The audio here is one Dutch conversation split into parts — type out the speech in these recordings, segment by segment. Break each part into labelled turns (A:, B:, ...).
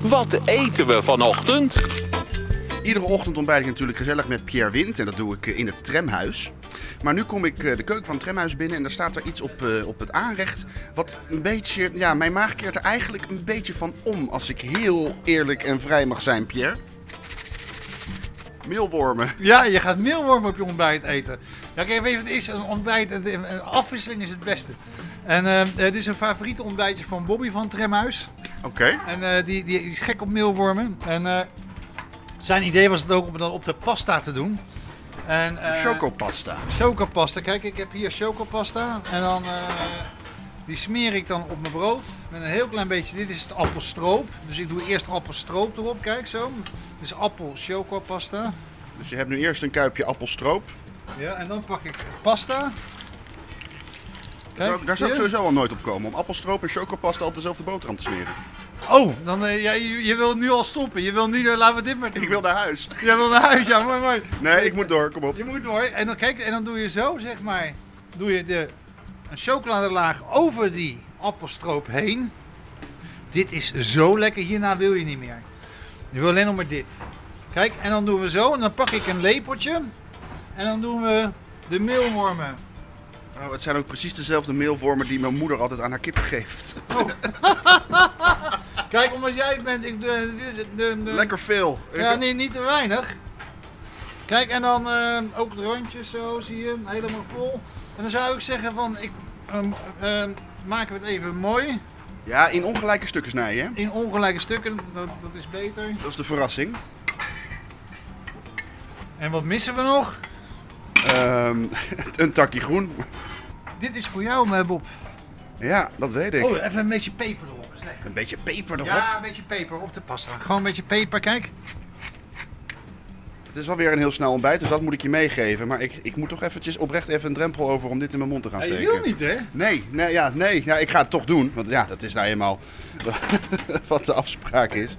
A: Wat eten we vanochtend?
B: Iedere ochtend ontbijt ik natuurlijk gezellig met Pierre Wind. En dat doe ik eh, in het tramhuis. Maar nu kom ik eh, de keuken van het tramhuis binnen en daar staat er iets op, eh, op het aanrecht. Wat een beetje, ja, mijn maag keert er eigenlijk een beetje van om. Als ik heel eerlijk en vrij mag zijn, Pierre. Meelwormen.
C: Ja, je gaat meelwormen op je ontbijt eten. Nou, kijk even, het is een ontbijt. een- een Afwisseling is het beste. En eh, het is een favoriet ontbijtje van Bobby van Tremhuis.
B: Oké.
C: En eh, die, die is gek op meelwormen. En eh, zijn idee was het ook om dat op de pasta te doen. En, eh,
B: Chocopasta.
C: Chocopasta. Kijk, ik heb hier chocopasta. En dan eh, die smeer ik dan op mijn brood. Met een heel klein beetje. Dit is het appelstroop. Dus ik doe eerst appelstroop erop. Kijk zo. Dit is appel chocopasta.
B: Dus je hebt nu eerst een kuipje appelstroop.
C: Ja, en dan pak ik pasta. Kijk,
B: Daar- daar zou ik
C: zie je?
B: sowieso al nooit op komen. Om appelstroop en chocopasta op dezelfde boterham te smeren.
C: Oh, dan, eh, ja, je, je wil nu al stoppen. Je wil nu, eh, laten we dit maar doen.
B: Ik wil naar huis.
C: Jij wil naar huis, ja, mooi, mooi.
B: Nee, ik moet door. Kom op.
C: Je moet hoor. En dan, kijk, en dan doe je zo, zeg maar, doe je de, een chocoladelaag over die appelstroop heen. Dit is zo lekker, hierna wil je niet meer. Je wil alleen nog maar dit. Kijk, en dan doen we zo, en dan pak ik een lepeltje. En dan doen we de meelwormen.
B: Oh, het zijn ook precies dezelfde meelwormen die mijn moeder altijd aan haar kippen geeft.
C: Kijk, omdat jij het bent, ik, de, dit is de, de,
B: Lekker veel.
C: Ja, nee, niet te weinig. Kijk, en dan eh, ook de rondjes zo, zie je, helemaal vol. En dan zou ik zeggen van, ik, ehm, ehm, maken we het even mooi.
B: Ja, in ongelijke stukken snijden, hè?
C: In ongelijke stukken, dat, dat is beter.
B: Dat is de verrassing.
C: En wat missen we nog?
B: Ehm, een takje groen.
C: Dit is voor jou, eh, Bob.
B: Ja, dat weet ik.
C: Oh, even een beetje peper erop, is lekker.
B: Een beetje peper erop.
C: Ja, een beetje peper op de pasta. Gewoon een beetje peper, kijk.
B: Het is wel weer een heel snel ontbijt, dus dat moet ik je meegeven. Maar ik, ik moet toch eventjes oprecht even een drempel over om dit in mijn mond te gaan
C: Hij
B: steken.
C: wil niet, hè?
B: Nee, nee, ja, nee. Ja, ik ga het toch doen. Want ja, dat is nou eenmaal wat de afspraak is.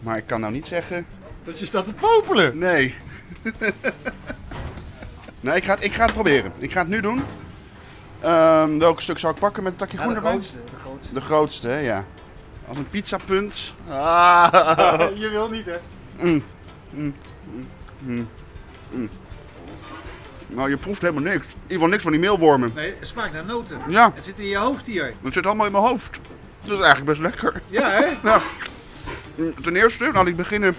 B: Maar ik kan nou niet zeggen...
C: Dat je staat te popelen.
B: Nee. nee, ik ga, het, ik ga het proberen. Ik ga het nu doen. Ehm, welk stuk zou ik pakken met een takje groen erbij?
C: de grootste.
B: De grootste, hè, ja. Als een pizzapunt. Ah.
C: Je wil niet, hè?
B: Nou, je proeft helemaal niks. In ieder geval niks van die meelwormen.
C: Nee, het smaakt naar noten.
B: Ja.
C: Het zit in je hoofd hier.
B: Het zit allemaal in mijn hoofd. Dat is eigenlijk best lekker.
C: Ja, hè?
B: Nou, mm, ten eerste laat ik beginnen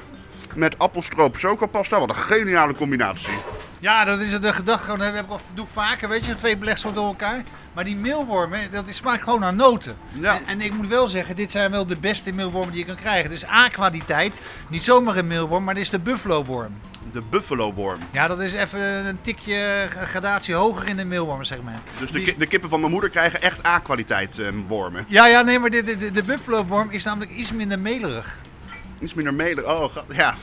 B: met appelstroop chocopasta. Wat een geniale combinatie.
C: Ja, dat is de gedachte. Dat heb ik al, doe ik vaker, weet je, twee belegsoorten door elkaar. Maar die meelwormen, dat is, smaakt gewoon naar noten.
B: Ja.
C: En, en ik moet wel zeggen, dit zijn wel de beste meelwormen die je kan krijgen. Het is A-kwaliteit, niet zomaar een meelworm, maar dit is de buffalo-worm.
B: De buffalo-worm.
C: Ja, dat is even een tikje eh, gradatie hoger in het meelwormensegment.
B: Dus de,
C: Die-
B: ki- de kippen van mijn moeder krijgen echt A-kwaliteit eh, wormen.
C: Ja, ja, nee, maar dit- dit- de, buffalo-worm is namelijk iets minder melerig.
B: Iets minder melig. Oh, ga- ja.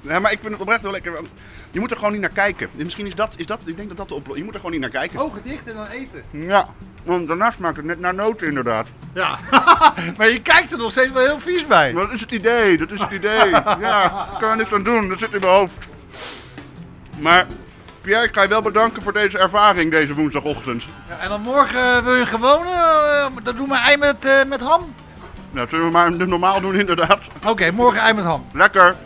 B: Ja, maar ik vind het oprecht wel lekker, want je moet er gewoon niet naar kijken. Dus Misschien is dat, is dat ik denk dat dat de oplossing Je moet er gewoon niet naar kijken.
C: Ogen dicht en dan eten.
B: Ja, want daarnaast maakt het net naar noten inderdaad.
C: Ja, maar je kijkt er nog steeds wel heel vies bij.
B: Maar dat is het idee, dat is het idee. Ja, ik kan er niks aan doen, dat zit in mijn hoofd. Maar Pierre, ik ga je wel bedanken voor deze ervaring deze woensdagochtend.
C: Ja, en dan morgen eh, wil je gewoon, eh, dan doen we ei met, eh, met ham.
B: Nou, zullen we maar normaal doen inderdaad.
C: Oké, morgen ei met ham.
B: Lekker.